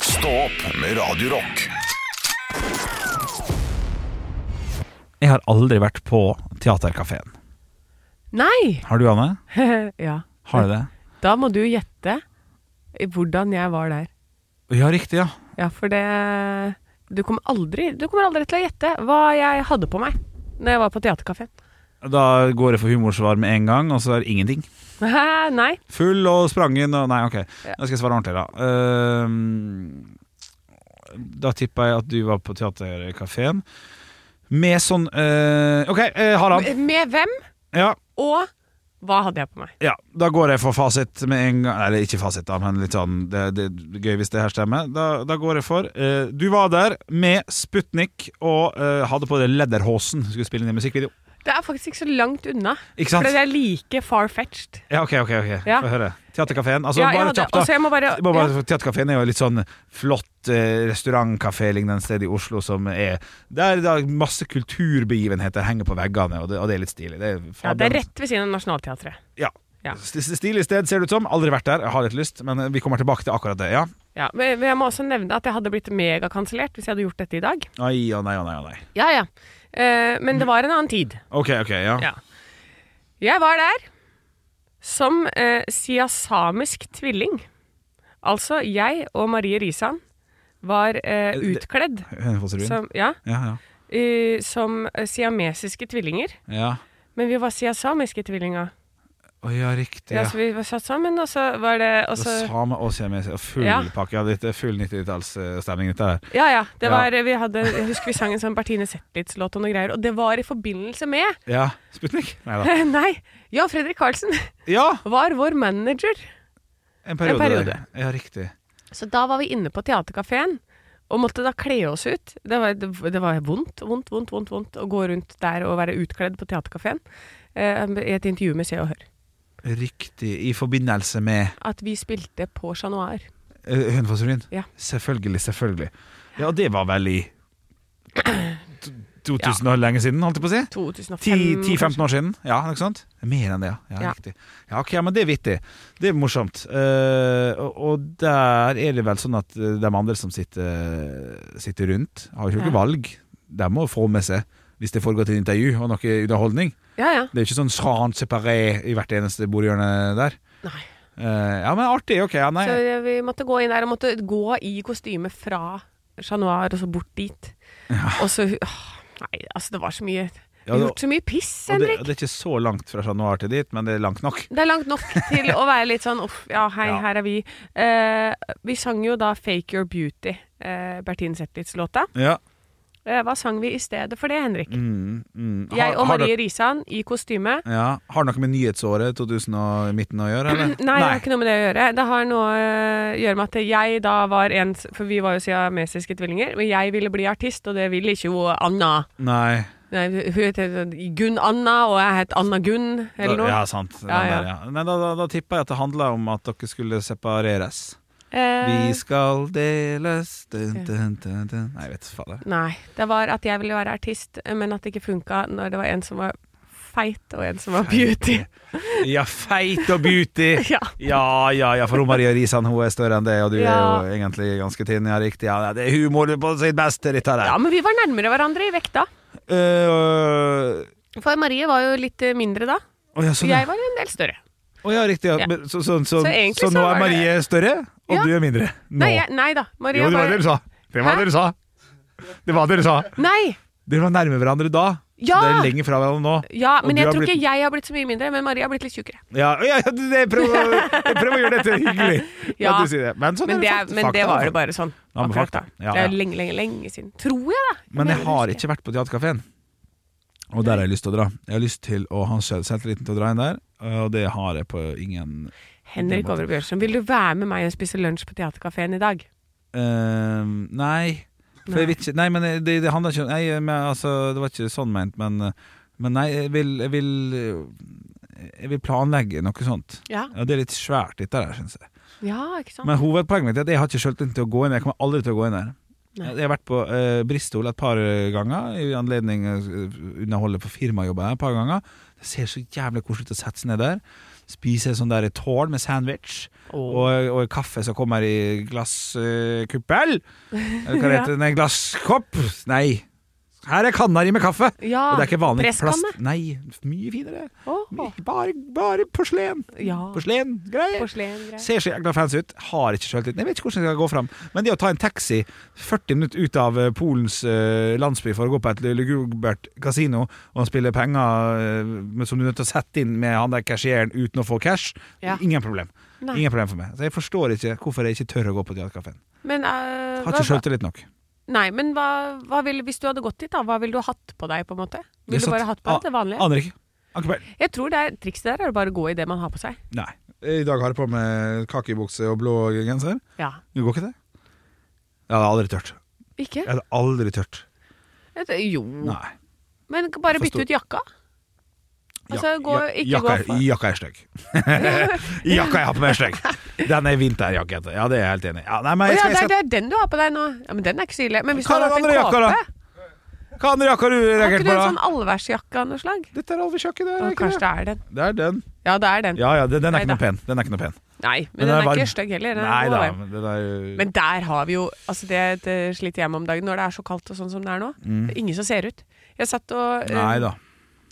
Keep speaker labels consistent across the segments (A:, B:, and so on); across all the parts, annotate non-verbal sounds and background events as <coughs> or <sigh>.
A: Stå opp med Radio Rock.
B: Jeg har aldri vært på Teaterkafeen.
C: Nei! <laughs>
B: Har du, Anne?
C: ja.
B: Har du det?
C: Da må du gjette i hvordan jeg var der.
B: Ja, riktig, ja.
C: Ja, for det Du kommer aldri, du kommer aldri til å gjette hva jeg hadde på meg når jeg var på teaterkafeen.
B: Da går jeg for humorsvar med en gang, og så er det ingenting.
C: <laughs> Nei.
B: Full og sprangen og Nei, ok. Da skal jeg svare ordentlig, da. Ehm, da tippa jeg at du var på Teaterkafeen. Med sånn eh, OK, eh, Harald.
C: Med hvem
B: Ja,
C: og hva hadde jeg på meg?
B: ja, da går jeg for fasit med en gang. Eller ikke fasit, da, men litt sånn Det, det er gøy hvis det her stemmer. Da, da går jeg for eh, Du var der med Sputnik og eh, hadde på deg Lederhosen. Skulle spille inn i musikkvideo.
C: Det er faktisk ikke så langt unna.
B: Ikke
C: For
B: sant?
C: det er like far-fetched.
B: Ja, ok, ok, ok.
C: Ja.
B: Få høre. Teaterkafeen. Altså,
C: Ja, jeg
B: bare
C: hadde-
B: kjapt, da.
C: altså, jeg må bare-
B: Bare- bare- Teaterkafeen er jo litt sånn flott eh, restaurantkafé lignende sted i Oslo som er Der da masse kulturbegivenheter henger på veggene, og det, og det er litt stilig. Det er,
C: Ja, det er rett ved siden av Nationaltheatret.
B: Ja.
C: Ja.
B: S- s- Stilig sted, ser det ut som. Aldri vært der, jeg har litt lyst, men eh, vi kommer tilbake til akkurat det. Ja.
C: Ja, men men jeg må også nevne at jeg hadde blitt megakansellert hvis jeg hadde gjort dette i dag.
B: Ai, å nei, å nei, å nei.
C: Ja, ja. Eh, men det var en annen tid.
B: Ok, ok, ja.
C: Ja. Jeg var der som eh, siasamisk tvilling. Altså, jeg og Marie Risan var eh,
B: det-
C: utkledd
B: Hønefoss-revyen.
C: som, ja,
B: Ja, ja.
C: eh, som eh, siamesiske tvillinger.
B: ja.
C: Men vi var siasamiske tvillinger.
B: Å ja, riktig. Ja.
C: Ja. så altså, vi var satt sammen, og så var det og
B: Det
C: så,
B: Same og siamese. Full
C: Ja.
B: pakke. Ja, dette er full 90-tallsstemning, dette her.
C: Ja, ja.
B: Ja.
C: Det var, eh, vi hadde, jeg husker vi sang en sånn Bertine Zetlitz-låt og noe greier. Og det var i forbindelse med <laughs>
B: Ja. Sputnik? Nei da.
C: Nei! Jan Fredrik Karlsen
B: Ja!
C: var vår manager.
B: En periode.
C: En periode.
B: der. Ja, riktig.
C: Så da var vi inne på teaterkafeen og måtte da kle oss ut. Det var, det, det var vondt, vondt, vondt, vondt, vondt å gå rundt der og være utkledd på teaterkafeen. Eh, I et intervju med Se og Hør.
B: Riktig. I forbindelse med
C: At vi spilte på Chat Noir.
B: eh, Hønefoss-revyen?
C: Ja.
B: Selvfølgelig, selvfølgelig. Ja, det var vel
C: <clears throat>
B: i t- 2000 år lenge siden, holdt jeg på å si?
C: 2005.
B: 10-15
C: kanskje.
B: år siden. Ja, ikke sant? Mer enn det, ja. ja,
C: Ja.
B: Riktig. Ja, ok, ja, men det er vittig. Det er morsomt. Eh, og, og der er det vel sånn at eh, de andre som sitter, eh, sitter rundt, har jo ikke
C: Ja.
B: valg. De må få med seg, hvis det foregår et intervju og noe underholdning.
C: Ja, ja.
B: Det er jo ikke sånn Jean Separé i hvert eneste bordhjørne der.
C: Nei.
B: Eh, ja, men artig. Ok, Ah, ja, nei.
C: Så eh, vi måtte gå inn der og måtte gå i kostyme fra Chat Noir og så bort dit. Og så åh, Nei, altså, det var så mye Vi
B: Ja,
C: har
B: det-
C: gjort så mye piss,
B: og det,
C: Henrik.
B: og det er ikke så langt fra Chat Noir til dit, men det er langt nok.
C: Det er langt nok til å være litt sånn uff, ja, hei,
B: Ja.
C: her er vi. Eh, vi sang jo da 'Fake Your Beauty', eh, Bertine Zetlitz-låta.
B: Ja.
C: Eh, hva sang vi i stedet for det, Henrik?
B: Mm, mm. Har-
C: Jeg og
B: har
C: Marie Risan i kostyme.
B: dere- ja. Har det noe med nyhetsåret 2000 og midten å gjøre, eller?
C: <clears throat> Nei, det har ikke noe med det å gjøre. Det har noe eh, å gjøre med at jeg da var en s- For vi var jo siamesiske tvillinger. Men jeg ville bli artist, og det ville ikke jo Anna.
B: Nei.
C: Nei, hun het Gunn Anna, og jeg het Anna Gunn, eller
B: Da,
C: noe.
B: ja, sant. Den
C: Ja, ja.
B: Der, ja. Nei, da, da, da tippa jeg at det handla om at dere skulle separeres.
C: Eh,
B: Vi skal deles dun, dun, dun, dun. Nei, jeg vet fader.
C: Nei, det var at jeg ville være artist, men at det ikke funka når det var en som var feit, og en som var beauty. <laughs>
B: Ja, feit og beauty!
C: Ja.
B: Ja, ja, ja, for hun Maria Risan hun er større enn det, og du
C: Ja.
B: er jo egentlig ganske tynn. Ja, riktig. Ja, det er humor på sitt beste, dette Eh, der.
C: ja, men vi var nærmere hverandre i vekta.
B: Øh,
C: For Marie var jo litt eh, mindre da.
B: Å ja, sånn, ja.
C: Jeg var en del større.
B: Å ja, riktig. Ja.
C: Ja.
B: Men, så, sånn, sånn,
C: Så egentlig
B: så
C: så
B: nå
C: var
B: er
C: det-
B: Marie større, og
C: Ja.
B: du er mindre. Nå.
C: Nei, jeg, nei da. Marie
B: jo, det var det dere
C: var
B: sa. Det var
C: Hæ?
B: det dere sa. Det var det dere sa.
C: Nei!
B: Dere var nærme hverandre da.
C: Ja!
B: Så dere er lenger fra hverandre nå.
C: Ja,
B: Og
C: men
B: du
C: jeg
B: har
C: tror
B: blitt-
C: ikke jeg har blitt så mye mindre, men Marie har blitt litt tjukkere.
B: Ja, ja, ja det, jeg, prøver, jeg prøver å gjøre dette hyggelig.
C: <laughs> Ja.
B: At du sier det. Men sånn
C: Men det,
B: er
C: er-
B: det fakt-
C: men det
B: fakta,
C: var
B: altså.
C: jo bare sånn
B: Ja, men
C: akkurat
B: fakta.
C: da.
B: Ja,
C: Det er
B: ja.
C: jo lenge, lenge, lenge siden. Tror jeg, da.
B: Men jeg
C: mener å
B: har
C: huske.
B: ikke vært på teaterkafeen. Og der har jeg lyst til å dra. Jeg har lyst til å ha selv- selvtilliten til å dra inn der, og det har jeg på ingen
C: Henrik Over Bjørnson, vil du være med meg og spise lunsj på Theatercaféen i dag?
B: Eh, nei. For jeg
C: Nei.
B: vet ikke Nei, men det, det handler ikke om nei, men, altså, Det var ikke sånn ment, men, men nei, jeg vil, jeg vil Jeg vil planlegge noe sånt.
C: Ja.
B: Ja, det er litt svært, dette der, syns jeg.
C: Ja, ikke sant?
B: Men hovedpoenget mitt er at jeg har ikke selvtillit til å gå inn der. Jeg kommer aldri til å gå inn der.
C: Nei.
B: Jeg har vært på eh, Bristol et par ganger, i eh, anledning uh, underholdet for firmajobber her et par ganger. Det ser så jævlig koselig ut å sette seg ned der. Spise sånn der tårn med sandwich
C: Åh.
B: og, og kaffe som kommer i glasskuppel. Eller
C: <laughs>
B: hva det
C: Ja.
B: heter det? Glasskopp? Nei. Her er kanna di med kaffe!
C: Ja,
B: Og det er ikke vanlig
C: presskanne.
B: plast. Nei, mye finere.
C: Ah, Åh.
B: Bare, bare porselen.
C: Ja.
B: Porselengreier.
C: Porselengreier.
B: Ser så jækla fancy ut. Har ikke selvtillit. Jeg vet ikke hvordan jeg skal gå fram. Men det å ta en taxi 40 minutter ut av eh, Polens eh, landsby for å gå på et lugubert kasino og spille penger eh, men som du er nødt til å sette inn med han der cashieren uten å få cash,
C: Ja.
B: ingen problem.
C: Nei.
B: Ingen problem for meg. Så jeg forstår ikke hvorfor jeg ikke tør å gå på Teatercaféen.
C: Men, eh,
B: Har
C: hva,
B: ikke selvtillit nok.
C: nei, men hva, hva ville, hvis du hadde gått dit, da, hva ville du hatt på deg? på en måte?
B: Det er
C: Ville du
B: sant. Ah,
C: bare hatt på deg det vanlige?
B: Aner ikke. Aner ikke peiling.
C: Jeg tror det er, trikset der er å bare gå i det man har på seg.
B: Nei. I dag har jeg på meg kakebukse og blå genser.
C: Ja.
B: Det går ikke det? Jeg hadde aldri tørt.
C: Ikke?
B: Jeg hadde aldri tørt.
C: Jeg tror- Jo.
B: Nei.
C: Men bare
B: Forstår.
C: bytte ut jakka. Altså, gå,
B: Ja-
C: ikke
B: jakka,
C: gå for
B: jakka er
C: <laughs>
B: stygg. jakka jeg har på meg er stygg. Den er vinterjakke. heter det. Ja, det er jeg helt enig i. Ja, nei, men
C: Å
B: jeg
C: ja,
B: skal,
C: det,
B: jeg
C: er- det er den du har på deg nå. Ja, Men den er ikke så ille. Men hvis
B: Hva
C: du
B: er
C: hadde hatt
B: den
C: en
B: andre jakka, da?
C: kåpe
B: skal, hva andre jakker har du
C: Har ikke
B: reagert
C: du
B: på,
C: en
B: da?
C: sånn allværsjakke av noe slag?
B: Dette er alvesjakke, det er
C: Å,
B: ikke
C: kanskje
B: det.
C: det
B: Det er
C: er den.
B: den.
C: Ja, det er den.
B: Ja ja, den, den er ikke
C: Neida.
B: noe pen. Den er ikke noe pen.
C: Nei, men,
B: Men
C: den
B: den
C: er
B: er
C: ikke
B: varm.
C: stygg heller. Den er
B: Nei
C: god
B: da,
C: varm.
B: men den er
C: Men der har vi jo Altså, det, det sliter jeg med om dagen når det er så kaldt og sånn som det er nå. Det er ingen som ser ut. Jeg satt og eh,
B: Mm. Nei da.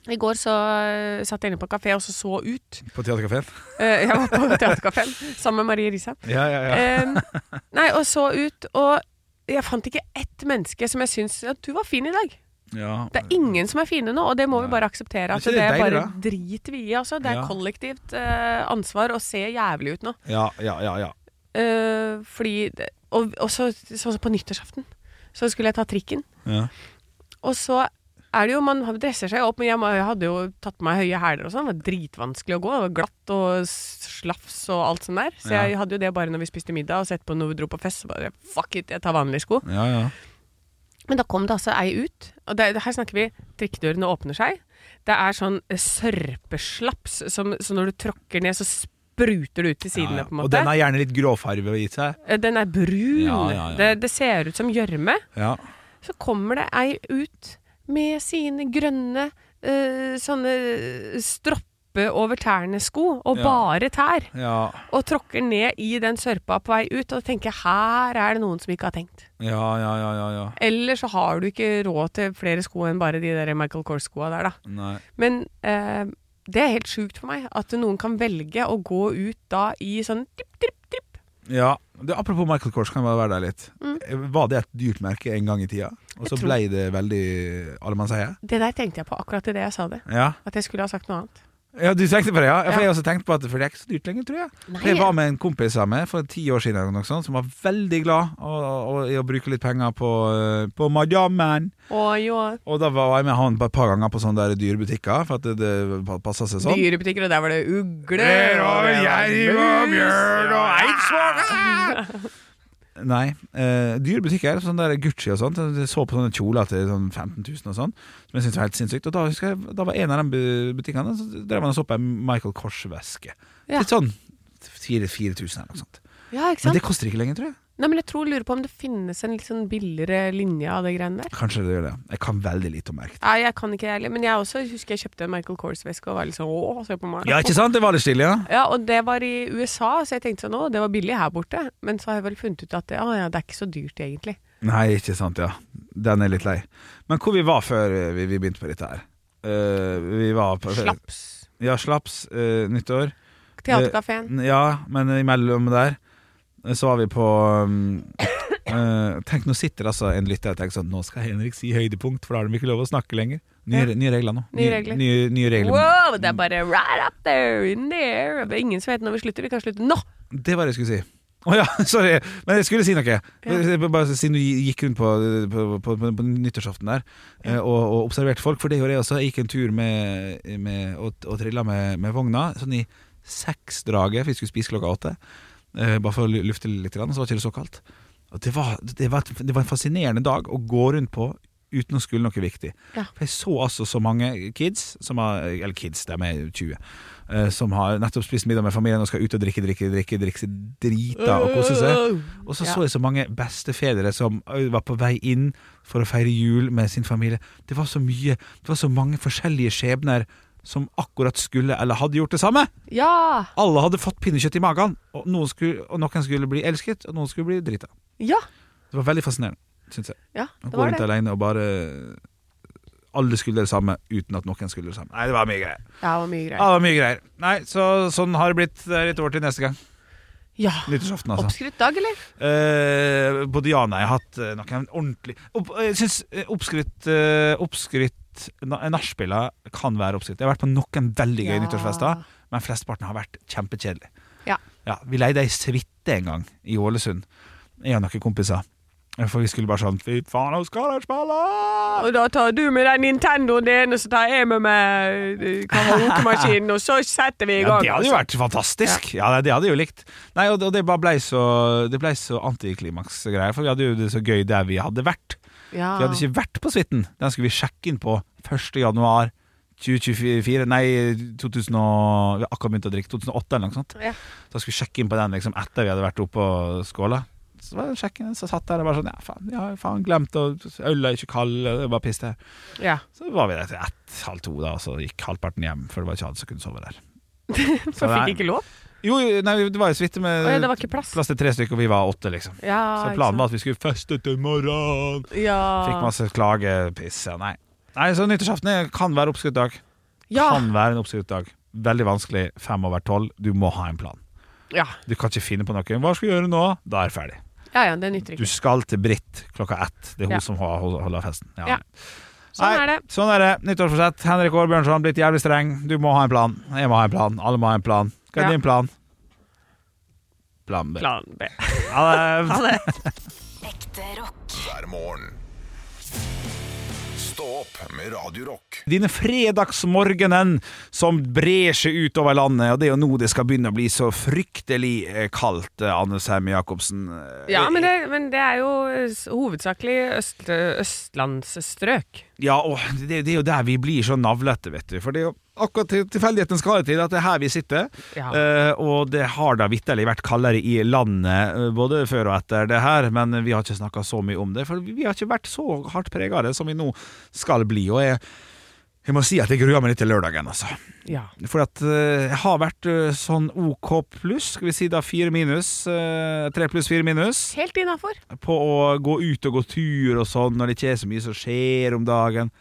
C: I går så eh, satt jeg inne på kafé og så så ut.
B: På teaterkafeen?
C: Eh, jeg var på <laughs> teaterkafeen sammen med Marie Risan.
B: Ja, ja, ja.
C: Em, nei, og så ut, og jeg fant ikke ett menneske som jeg syns at du var fin i dag.
B: ja.
C: Det er ingen som er fine nå, og det må vi bare akseptere. At
B: Er ikke
C: det,
B: det
C: er
B: deilig,
C: bare
B: da?
C: drit vi i, altså. Det er
B: Ja.
C: kollektivt eh, ansvar å se jævlig ut nå.
B: Ja, ja, ja, ja.
C: Eh, fordi det- Og, og så, sånn som på nyttårsaften, så skulle jeg ta trikken.
B: ja.
C: Og så er det jo, man dresser seg opp, men jeg, må- jeg hadde jo tatt på meg høye hæler og sånn. Det var dritvanskelig å gå. Det var glatt og slafs og alt sånt der. Så
B: Ja.
C: jeg hadde jo det bare når vi spiste middag og sett på når vi dro på fest. Så bare fuck it, jeg tar vanlige sko.
B: ja, ja.
C: Men da kom det altså ei ut. Og det, her snakker vi trikkedørene åpner seg. Det er sånn eh, sørpeslaps som så når du tråkker ned, så spruter det ut til sidene,
B: Ja, ja.
C: på en måte.
B: Og den har gjerne litt gråfarve gitt seg.
C: Eh, Den er brun.
B: Ja, ja, ja.
C: Det, det ser ut som gjørme.
B: Ja.
C: Så kommer det ei ut med sine grønne eh, sånne stroppe over tærne-sko, og
B: Ja.
C: bare tær,
B: Ja,
C: og tråkker ned i den sørpa på vei ut, og tenker her er det noen som ikke har tenkt.
B: ja, ja, ja, ja, ja.
C: Eller så har du ikke råd til flere sko enn bare de der Michael Kors-skoa der, da.
B: Nei.
C: Men eh, det er helt sjukt for meg at noen kan velge å gå ut da i sånn tripp, tripp, tripp.
B: Ja, det, Apropos Michael Kors, kan jeg bare være der litt. Eh, Var det et dyrt merke en gang i tida? Og
C: Mm. Jeg
B: så
C: tror-
B: blei det veldig allemannseie?
C: Det der tenkte jeg på akkurat idet jeg sa det.
B: Ja.
C: At jeg skulle ha sagt noe annet.
B: ja, du tenkte på det, ja? ja.
C: Ja.
B: For jeg har også tenkt på at For det er ikke så dyrt lenger, tror jeg.
C: Nei.
B: For jeg var med en kompis av meg for ti år siden eller noe sånt, som var veldig glad og, og, i å bruke litt penger på, eh, på madammen.
C: Å jo.
B: Og da var jeg med han på et par ganger på sånne der dyre butikker, for at det, det passa seg sånn.
C: Dyrebutikker, og der var det ugler
B: Dyr og
C: det var
B: jerv og
C: mus,
B: bjørn og
C: ja.
B: eidsvåg. Nei. Eh, dyre butikker, sånn der Gucci og sånt. Jeg så på sånne kjoler til sånn 15 000 og sånn, som jeg syntes var helt sinnssykt. Og da, husker jeg, da var en av de bu- butikkene Så drev han og så på ei Michael Kors-veske.
C: Ja.
B: Litt sånn 4000 eller noe sånt.
C: <laughs> Ja, ikke
B: Men
C: sant?
B: det koster ikke lenger, tror jeg.
C: Nei, men jeg tror lurer på om det finnes en litt sånn billigere linje av det greiene der.
B: Kanskje det gjør det. Jeg kan veldig lite om merket.
C: Nei, jeg kan ikke det heller. Men jeg også husker jeg kjøpte en Michael Kors-veske og var litt sånn åh, se på meg.
B: Ja, ikke sant? Det var litt stilig, ja.
C: <laughs> Ja, og det var i USA, så jeg tenkte sånn, å, det var billig her borte. Men så har jeg vel funnet ut at det, å, ja, det er ikke så dyrt egentlig.
B: Nei, ikke sant, ja. Den er litt lei. Men hvor vi var før eh, vi, vi begynte på dette her? Eh, vi var på
C: Slaps.
B: Ja, slaps, eh, nyttår.
C: Teaterkafeen.
B: Ja, men imellom der eh, så var vi på um, <coughs> eh, Tenk, nå sitter altså en lytter og tenker sånn Nå skal Henrik si høydepunkt, for da har de ikke lov å snakke lenger. Nye,
C: Ja.
B: nye regler nå.
C: Nye regler.
B: Nye, nye regler.
C: Wow, det er bare right up there, in there. Det er ingen som vet når vi slutter. Vi kan slutte nå.
B: Det var det jeg skulle si. Å ja, <laughs> sorry. Men jeg skulle si noe.
C: Ja.
B: Bare Siden du gikk rundt på, på, på, på, på nyttårsaften der eh, og, og observerte folk. For det gjorde jeg også. Jeg gikk en tur med, med, og, og trilla med, med vogna sånn i seksdraget, for vi skulle spise klokka åtte. Eh, Bare for å lu- lufte litt, grann, så var ikke det så kaldt. Og det, var, det, var, et- det var en fascinerende dag å gå rundt på uten å skulle noe viktig.
C: Ja.
B: For jeg så altså så mange kids, som har, eller kids, de er 20, eh, som har nettopp spist middag med familien og skal ut og drikke, drikke, drikke, drikke seg drita og kose seg. Og så
C: Ja.
B: så jeg så mange bestefedre som ø, var på vei inn for å feire jul med sin familie. Det var så mye, det var så mange forskjellige skjebner som akkurat skulle eller hadde gjort det samme.
C: Ja!
B: Alle hadde fått pinnekjøtt i magen, og noen skulle, og noen skulle bli elsket, og noen skulle bli drita.
C: Ja!
B: Det var veldig fascinerende, syns jeg.
C: ja
B: Å
C: det
B: gå
C: var
B: rundt
C: det.
B: alene og bare Alle skulle det samme uten at noen skulle det samme. Nei, det var mye greier.
C: Ja, det var mye
B: Ja,
C: greier.
B: det var mye greier. Nei, så sånn har det blitt. Det er et år til neste gang.
C: Ja.
B: Nyttårsaften, altså.
C: Oppskrytt dag, eller?
B: Eh, på Diana har jeg hatt eh, noen ordentlig opp, eh, Jeg syns oppskrytt eh, Oppskrytt na- Nachspieler kan være oppskrytt. Jeg har vært på noen veldig gøye
C: Ja.
B: nyttårsfester, men flesteparten har vært kjempekjedelig.
C: Ja.
B: vi leide ei suite en gang i Ålesund, jeg og noen kompiser. For vi skulle bare sånn Fy faen, nå skal de spille!
C: Og da tar du med den Nintendoen din, og så tar jeg med meg eh, karaokemaskinen, og så setter vi i
B: Ja,
C: gang.
B: det hadde jo
C: altså.
B: vært fantastisk. Ja, det- det hadde jeg jo likt. Nei, og, og det bare blei så, det ble så antiklimaks-greier, for vi hadde jo det så gøy der vi hadde vært.
C: Ja.
B: Vi hadde ikke vært på suiten. Den skulle vi sjekke inn på 1. januar 2024 Nei, 2000 og, vi har akkurat begynt å drikke 2008 eller noe sånt.
C: Ja.
B: Så skulle vi sjekke inn på den liksom, etter vi hadde vært oppe og skåla. Så var det sjekken, så satt jeg der og bare sånn Ja, faen, jeg har faen glemt å Øla er ikke kald, og det var piss det her.
C: Ja.
B: Så var vi der til ett, halv to, da, og så gikk halvparten hjem, for det var ikke alle som kunne sove der.
C: For
B: det er-
C: fikk ikke lov?
B: Jo, jo, nei, det var jo suite med
C: Å ja, det var ikke plass.
B: plass til tre stykker, og vi var åtte, liksom.
C: Ja,
B: Så
C: ikke
B: planen
C: sant.
B: var at vi skulle feste til morgenen.
C: ja.
B: Fikk masse klagepiss. Ja, nei. nei, så nyttårsaften er- kan være oppskrytt dag.
C: ja.
B: Kan være en oppskrytt dag. Veldig vanskelig. Fem over tolv. Du må ha en plan.
C: ja.
B: Du kan ikke finne på noe. Hva skal jeg gjøre nå? Da er det ferdig.
C: Ja ja, det nytter
B: Du
C: ikke.
B: skal til Britt klokka ett. Det er hun
C: Ja.
B: som ho- ho- holder festen.
C: Ja.
B: Nei,
C: Sånn er det.
B: Sånn er det. Nyttårsforsett. Henrik Aarbjørnson blitt jævlig streng. Du må ha en plan. Jeg må ha en plan. Alle må ha en plan. Hva er
C: Ja.
B: din plan? Plan B.
C: Plan B. <laughs>
B: Ha det.
D: Ekte rock.
A: hver morgen. Stå opp med Radio Rock.
B: Dine fredagsmorgenen som brer seg utover landet, og det er jo nå det skal begynne å bli så fryktelig eh, kaldt, eh, Anne Sem Jacobsen. Eh,
C: Ja, men det, men det er jo s- hovedsakelig øst, østlandsstrøk.
B: Ja, og det, det er jo der vi blir så navlete, vet du. For det er jo akkurat til- tilfeldigheten skal det til at det er her vi sitter.
C: Ja.
B: Eh, og det har da vitterlig vært kaldere i landet eh, både før og etter det her, men vi har ikke snakka så mye om det. For vi har ikke vært så hardt prega av det som vi nå skal bli. Og jeg, jeg må si at jeg gruer meg litt til lørdagen, altså.
C: Ja.
B: For at eh, jeg har vært eh, sånn OK pluss, skal vi si da fire minus, eh, tre pluss fire minus,
C: Helt innafor.
B: på å gå ut og gå tur og sånn når det ikke er så mye som skjer om dagen.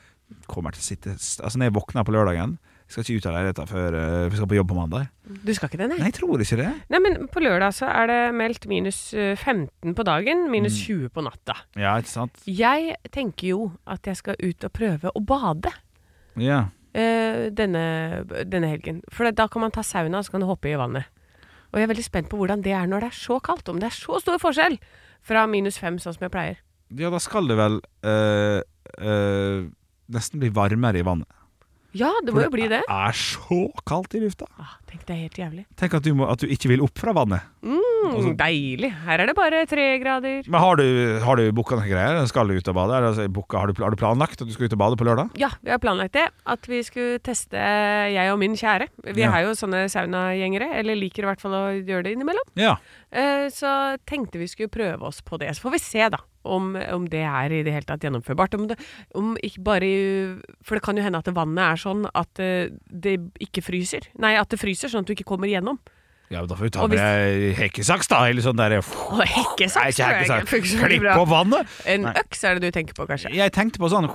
B: Kommer til å sitte Altså når jeg våkner på lørdagen Jeg skal ikke ut av leiligheten før eh, vi skal på jobb på mandag.
C: Du skal ikke det, nei?
B: Nei, jeg tror ikke det.
C: Nei, men på lørdag så er det meldt minus eh, 15 på dagen, minus 20 på natta.
B: Ja, ikke sant?
C: Jeg tenker jo at jeg skal ut og prøve å bade
B: Ja.
C: eh, denne, denne helgen. For da kan man ta sauna, og så kan du hoppe i vannet. Og jeg er veldig spent på hvordan det er når det er så kaldt. Om det er så stor forskjell fra minus 5, sånn som jeg pleier.
B: ja, da skal det vel eh, eh, nesten bli varmere i vannet.
C: Ja, det må jo bli det.
B: Det er så kaldt i lufta.
C: Ah, tenk, det er helt jævlig.
B: Tenk at du, må, at du ikke vil opp fra vannet.
C: Mm, deilig. Her er det bare tre grader.
B: Men har du, har du booka noen greier? Skal du ut og bade? Eller, altså, booka, har, du, har du planlagt at du skal ut og bade på lørdag?
C: Ja, vi har planlagt det. At vi skulle teste, jeg og min kjære. Vi
B: Ja.
C: er jo sånne saunagjengere, eller liker i hvert fall å gjøre det innimellom.
B: Ja.
C: Eh, Så tenkte vi skulle prøve oss på det. Så får vi se, da. Om, om det er i det hele tatt gjennomførbart. Om det, om ikke bare i- For det kan jo hende at vannet er sånn at eh, det ikke fryser. Nei, at det fryser, sånn at du ikke kommer gjennom.
B: men Da får vi ta
C: Og
B: med
C: hvis-
B: deg hekkesaks, da. Eller sånn der Nei,
C: Og
B: ikke
C: hekkesaks tror jeg ikke
B: hekkesaks.
C: funker så veldig
B: Klipp
C: bra.
B: opp vannet.
C: En
B: Nei.
C: øks er det du tenker på, kanskje.
B: Jeg tenkte på sånn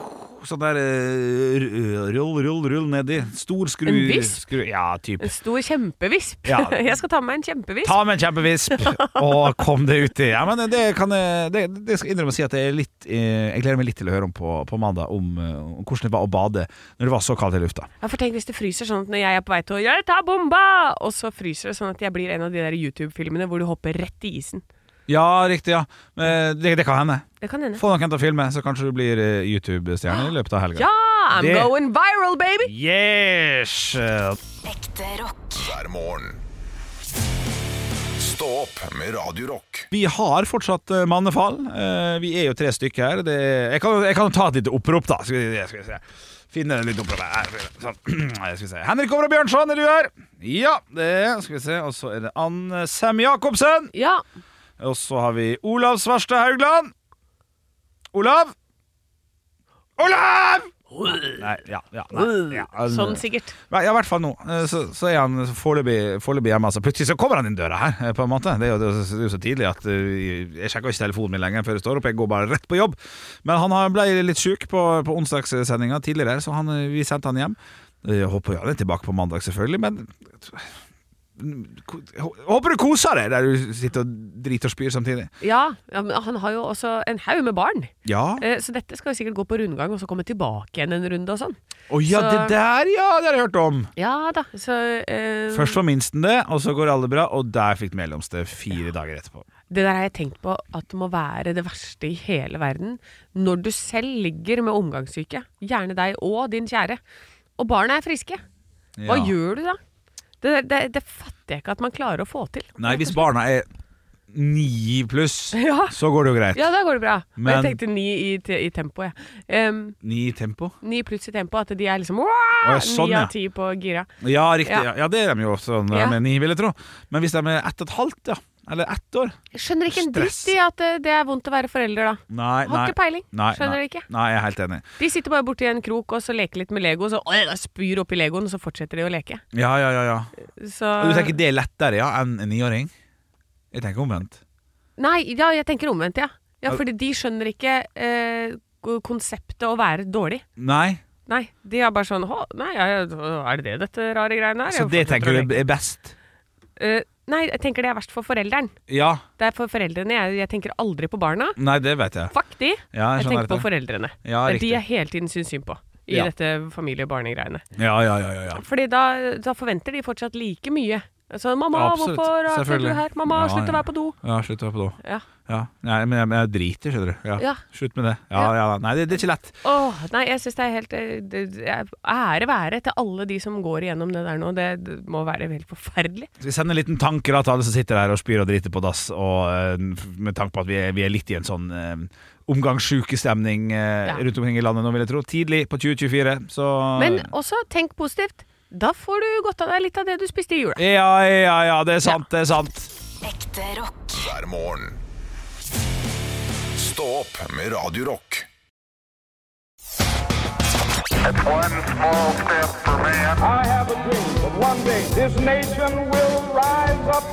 B: Sånn der eh, ru- rull, rull, rull nedi. Stor skru
C: En visp?
B: skru- Ja, type.
C: En stor kjempevisp.
B: Ja.
C: <laughs> Jeg skal ta med en kjempevisp.
B: Ta med en
C: <laughs>
B: kjempevisp og kom det uti. Ja, men det kan jeg det, det skal jeg innrømme å si at jeg, er litt, eh, jeg gleder meg litt til å høre om på, på mandag om, eh, om hvordan det var å bade når det var så kaldt i lufta.
C: Ja, for tenk hvis det fryser sånn at når jeg er på vei til å Jeg tar bomba! Og så fryser det sånn at jeg blir en av de der YouTube-filmene hvor du hopper rett i isen.
B: Ja, riktig. ja Men Det, det kan hende.
C: Det kan hende.
B: Få noen til å filme, så kanskje du blir eh,
C: <gasps>
B: YouTube-stjerne i løpet av helga.
C: Ja! I'm
B: Det-
C: going viral, baby!
B: Yes!
D: Ekte rock.
A: hver morgen. Stå opp med Radio Rock.
B: Vi har fortsatt eh, mannefall. Eh, Vi er jo tre stykker her. Det, jeg, kan, jeg kan ta et lite opprop, da. Skal vi, skal vi se. Finne et lite opprop her. Sånn. <clears throat> Skal vi se. Henrik Over og Bjørnson, er du her? Ja, det er- skal vi se. Og så er det Anne Sem Jacobsen.
C: Ja.
B: Og så har vi Olav Svarstad Haugland. Olav! Olav! Nei, ja, ja, nei, ja.
C: Sånn sikkert.
B: Nei, Ja, i hvert fall nå. eh, Så, så er han foreløpig foreløpig hjemme. Altså. Plutselig så kommer han inn døra her, eh, på en måte. Det er jo, det er jo- det er jo så tidlig at eh, jeg sjekker ikke telefonen min lenger før jeg står opp. Jeg går bare rett på jobb. Men han har- ble litt sjuk på, på onsdagssendinga tidligere, så han, eh, vi sendte han hjem. Eh, Jeg håper jo han er tilbake på mandag, selvfølgelig, men jeg håper du koser deg der du sitter og driter og spyr samtidig.
C: Ja, ja, men han har jo også en haug med barn.
B: Ja.
C: Eh, Så dette skal jo sikkert gå på rundgang, og så komme tilbake igjen en runde og sånn.
B: Å ja,
C: så-
B: det der, ja! Det har jeg hørt om.
C: Ja da, så eh,
B: Først var minsten det, og så går alle bra, og der fikk mellomste fire dager etterpå.
C: Det der har jeg tenkt på at det må være det verste i hele verden. Når du selv ligger med omgangssyke, gjerne deg og din kjære, og barna er friske. Hva
B: Ja.
C: gjør du da? Det, det, det fatter jeg ikke at man klarer å få til.
B: Nei, hvis barna er ni pluss,
C: <laughs> Ja.
B: så går det jo greit.
C: Ja, da går det bra. Men,
B: Men-
C: jeg tenkte ni i, te- i tempo, jeg. Em,
B: Ni i tempo?
C: ni pluss i tempo, at de er liksom
B: ja,
C: «Wah!»
B: sånn,
C: Ni
B: ja.
C: av ti på gira.
B: Ja, riktig. Ja,
C: Ja.
B: ja det er de jo sånn
C: Ja.
B: med ni, vil jeg tro. Men hvis de er ett og et halvt, ja. Eller ett år.
C: Jeg skjønner ikke en
B: Stress.
C: dritt i at eh, det er vondt å være forelder da.
B: Nei,
C: Har
B: nei.
C: ikke peiling.
B: Nei, nei.
C: Skjønner det ikke.
B: Nei, jeg er helt enig.
C: De sitter bare borti en krok og så leker litt med Lego, og så «Åh, jeg spyr oppi Legoen, og så fortsetter de å leke.
B: Ja, ja, ja. ja.
C: Så
B: Og Du tenker det er lettere ja, enn en niåring? Jeg tenker omvendt.
C: Nei, ja, jeg tenker omvendt, ja. Ja,
B: Au.
C: fordi de skjønner ikke eh, ko- konseptet å være dårlig.
B: Nei.
C: Nei, de er bare sånn Hå, nei, ja, ja, er det det dette rare greiene er?
B: Så
C: Jeg
B: det
C: fortsetter
B: tenker
C: å
B: du
C: leke.
B: er best?
C: Eh, Nei, jeg tenker det er verst for forelderen.
B: Ja.
C: Det er for foreldrene. Jeg, jeg tenker aldri på barna.
B: Nei, det vet jeg.
C: Fuck de.
B: Ja, jeg skjønner
C: jeg tenker på
B: sånn dette.
C: foreldrene.
B: Ja,
C: Det er de
B: riktig.
C: jeg hele tiden syns synd på. I
B: Ja.
C: dette familie- og barnegreiene.
B: Ja, ja, ja. ja, ja.
C: Fordi da, da forventer de fortsatt like mye. Altså, 'Mamma,
B: Absolutt.
C: hvorfor er du
B: Selvfølgelig.
C: her?'
B: Ja,
C: 'Mamma, slutt
B: ja.
C: å være på do'.
B: Ja, slutt å være på do.
C: Ja.
B: Ja. Nei, men jeg, men jeg driter, skjønner du. Ja.
C: Ja.
B: Slutt med det. Ja, ja. Nei, det, det er ikke lett.
C: Åh, nei, jeg syns det er helt eh, det, det er Ære være til alle de som går igjennom det der nå. Det, det må være helt forferdelig.
B: Skal vi sende en liten tanke da, til alle som sitter her og spyr og driter på dass, og, eh, med tanke på at vi er, vi er litt i en sånn eh, omgangssjukestemning eh,
C: Ja.
B: rundt omkring i landet nå, vil jeg tro. Tidlig på 2024, så
C: Men også tenk positivt. Da får du godt av deg litt av det du spiste i jula.
B: Ja, ja, ja, det er sant, det er sant.
D: Ekte rock.
A: hver morgen. Stå opp med Radio Rock.
E: One small step for man.
F: I have a dream that one day this nation will rise up.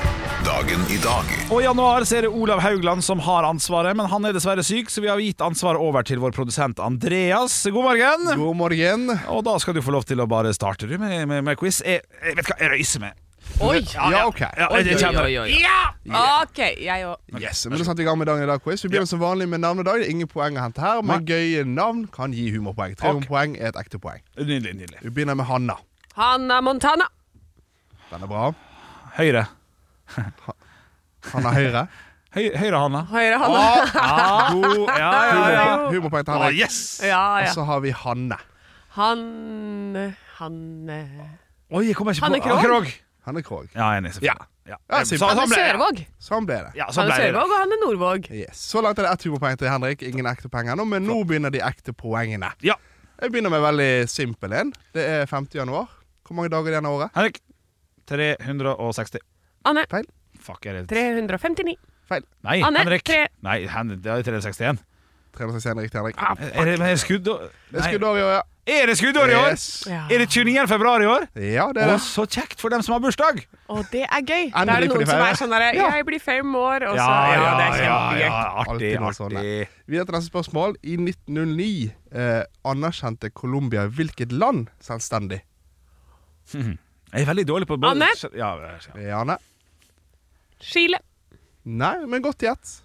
A: Dagen i dag
B: Og i januar så er det Olav Haugland som har ansvaret, men han er dessverre syk, så vi har gitt ansvaret over til vår produsent Andreas. God morgen!
G: <laughs> God morgen.
B: Og da skal du få lov til å bare starte du med, med, med quiz. Jeg, jeg vet hva, jeg røyser med.
C: Oi!
G: Ja, ok.
B: Ja, jeg kjenner det.
C: OK, jeg òg.
G: Yes, men Da setter vi i gang med dagen i dag quiz. Vi begynner som vanlig med navnedag. Det er ingen poeng å hente her, men gøye navn kan gi humorpoeng. Tre
B: Ok.
G: humorpoeng er et ekte poeng.
B: Nydelig, nydelig.
G: Vi begynner med Hanna.
C: Hanna Montana.
G: Den er bra.
B: Høyre.
G: Hanna
B: <laughs>
G: Høyre.
B: Høy, høyre, Hanna.
C: Høyre Hanna.
B: God, Ah, ja, ja, ja. Ah,
G: Humor- eh, Humorpoeng til Henrik.
B: yes!
C: Ja,
G: Og
C: ja.
G: så har vi Hanne.
C: Han Hanne
B: Oi, jeg kommer ikke
C: Hanne
B: på
C: Krogh?
G: Hanne Krogh.
B: Ja, jeg er enig, selvfølgelig. Ja.
G: Ja,
B: Så-
G: simpelt.
B: sånn ble det.
C: Sørvåg.
G: Sånn ble det.
B: Ja, sånn
C: Hanne
B: ble det.
C: Sørvåg og Hanne Nordvåg.
G: Yes. Så langt er det ett humorpoeng til Henrik. Ingen ekte penger nå, men nå begynner de ekte poengene.
B: Ja.
G: Jeg begynner med en veldig simpel en. Det er 5. januar. Hvor mange dager igjen av året?
B: Henrik. 360.
C: Anne
G: Feil.
B: Fuck, jeg er redd.
C: 359.
G: Feil.
B: Nei,
C: Anne,
B: Henrik.
C: tre.
B: Nei, Henrik, det er 361.
G: 361 riktig, Henrik.
B: Er det, er det skuddår?
G: Det er
B: Ah, Nei.
G: skuddår i år, ja.
B: Er det skuddår i år?
G: Yes.
C: Ja.
B: Er det 29. februar i år?
G: Ja, det er
B: Å,
G: det.
B: så kjekt for dem som har bursdag!
C: Og det er gøy. Da er
G: Endelig
C: det
G: får de
C: noen som
G: feire.
C: er sånn derre Jeg blir fem år, og så Ja, det er kjempegøy.
B: ja, Artig,
G: Alltid noe sånn,
B: artig.
G: Videre til neste spørsmål. I 1909 eh, anerkjente Colombia hvilket land selvstendig?
B: Jeg er veldig dårlig på
C: Anne?
B: Ja, ja.
G: Jane?
C: Chile.
G: Eh, Nei, men godt gjett.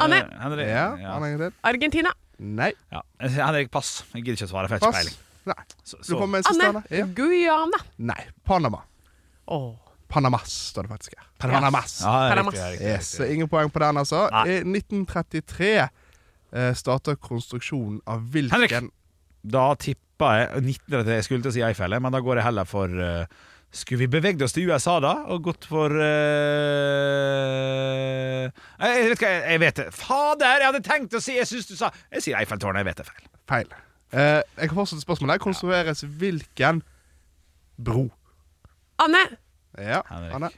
C: Anne.
B: Eh, Henrik,
G: Ja,
B: ja.
G: Anne en gang til.
C: Argentina.
G: Nei.
B: Ja. Henrik, pass. Jeg gidder ikke å svare, for jeg har ikke
G: Pass.
B: peiling.
G: Nei.
B: Så-
G: Du
B: så-
G: får med en siste,
C: Anne.
G: Anne? Ja.
C: Guyana.
G: Nei. Panama.
C: Åh.
G: Panamas står det faktisk her. Panamas.
B: Ja, ja,
C: Panamas.
B: riktig, ja, riktig, riktig.
G: Yes, så ingen poeng på den, altså.
B: Nei.
G: I 1933 eh, startet konstruksjonen av hvilken
B: Henrik! Da tippa jeg 1933, jeg skulle til å si Eiffelet, men da går jeg heller for eh, Skulle vi bevegd oss til USA da, og gått for eh, Nei, Jeg vet hva, jeg- jeg vet det. Fader, jeg hadde tenkt å si Jeg syns du sa Jeg sier Eiffeltårnet, jeg vet det er feil.
G: Feil. Eh, jeg kan fortsette spørsmålet. Konstrueres hvilken bro?
C: Anne.
G: Ja,
B: Henrik.
G: Anne?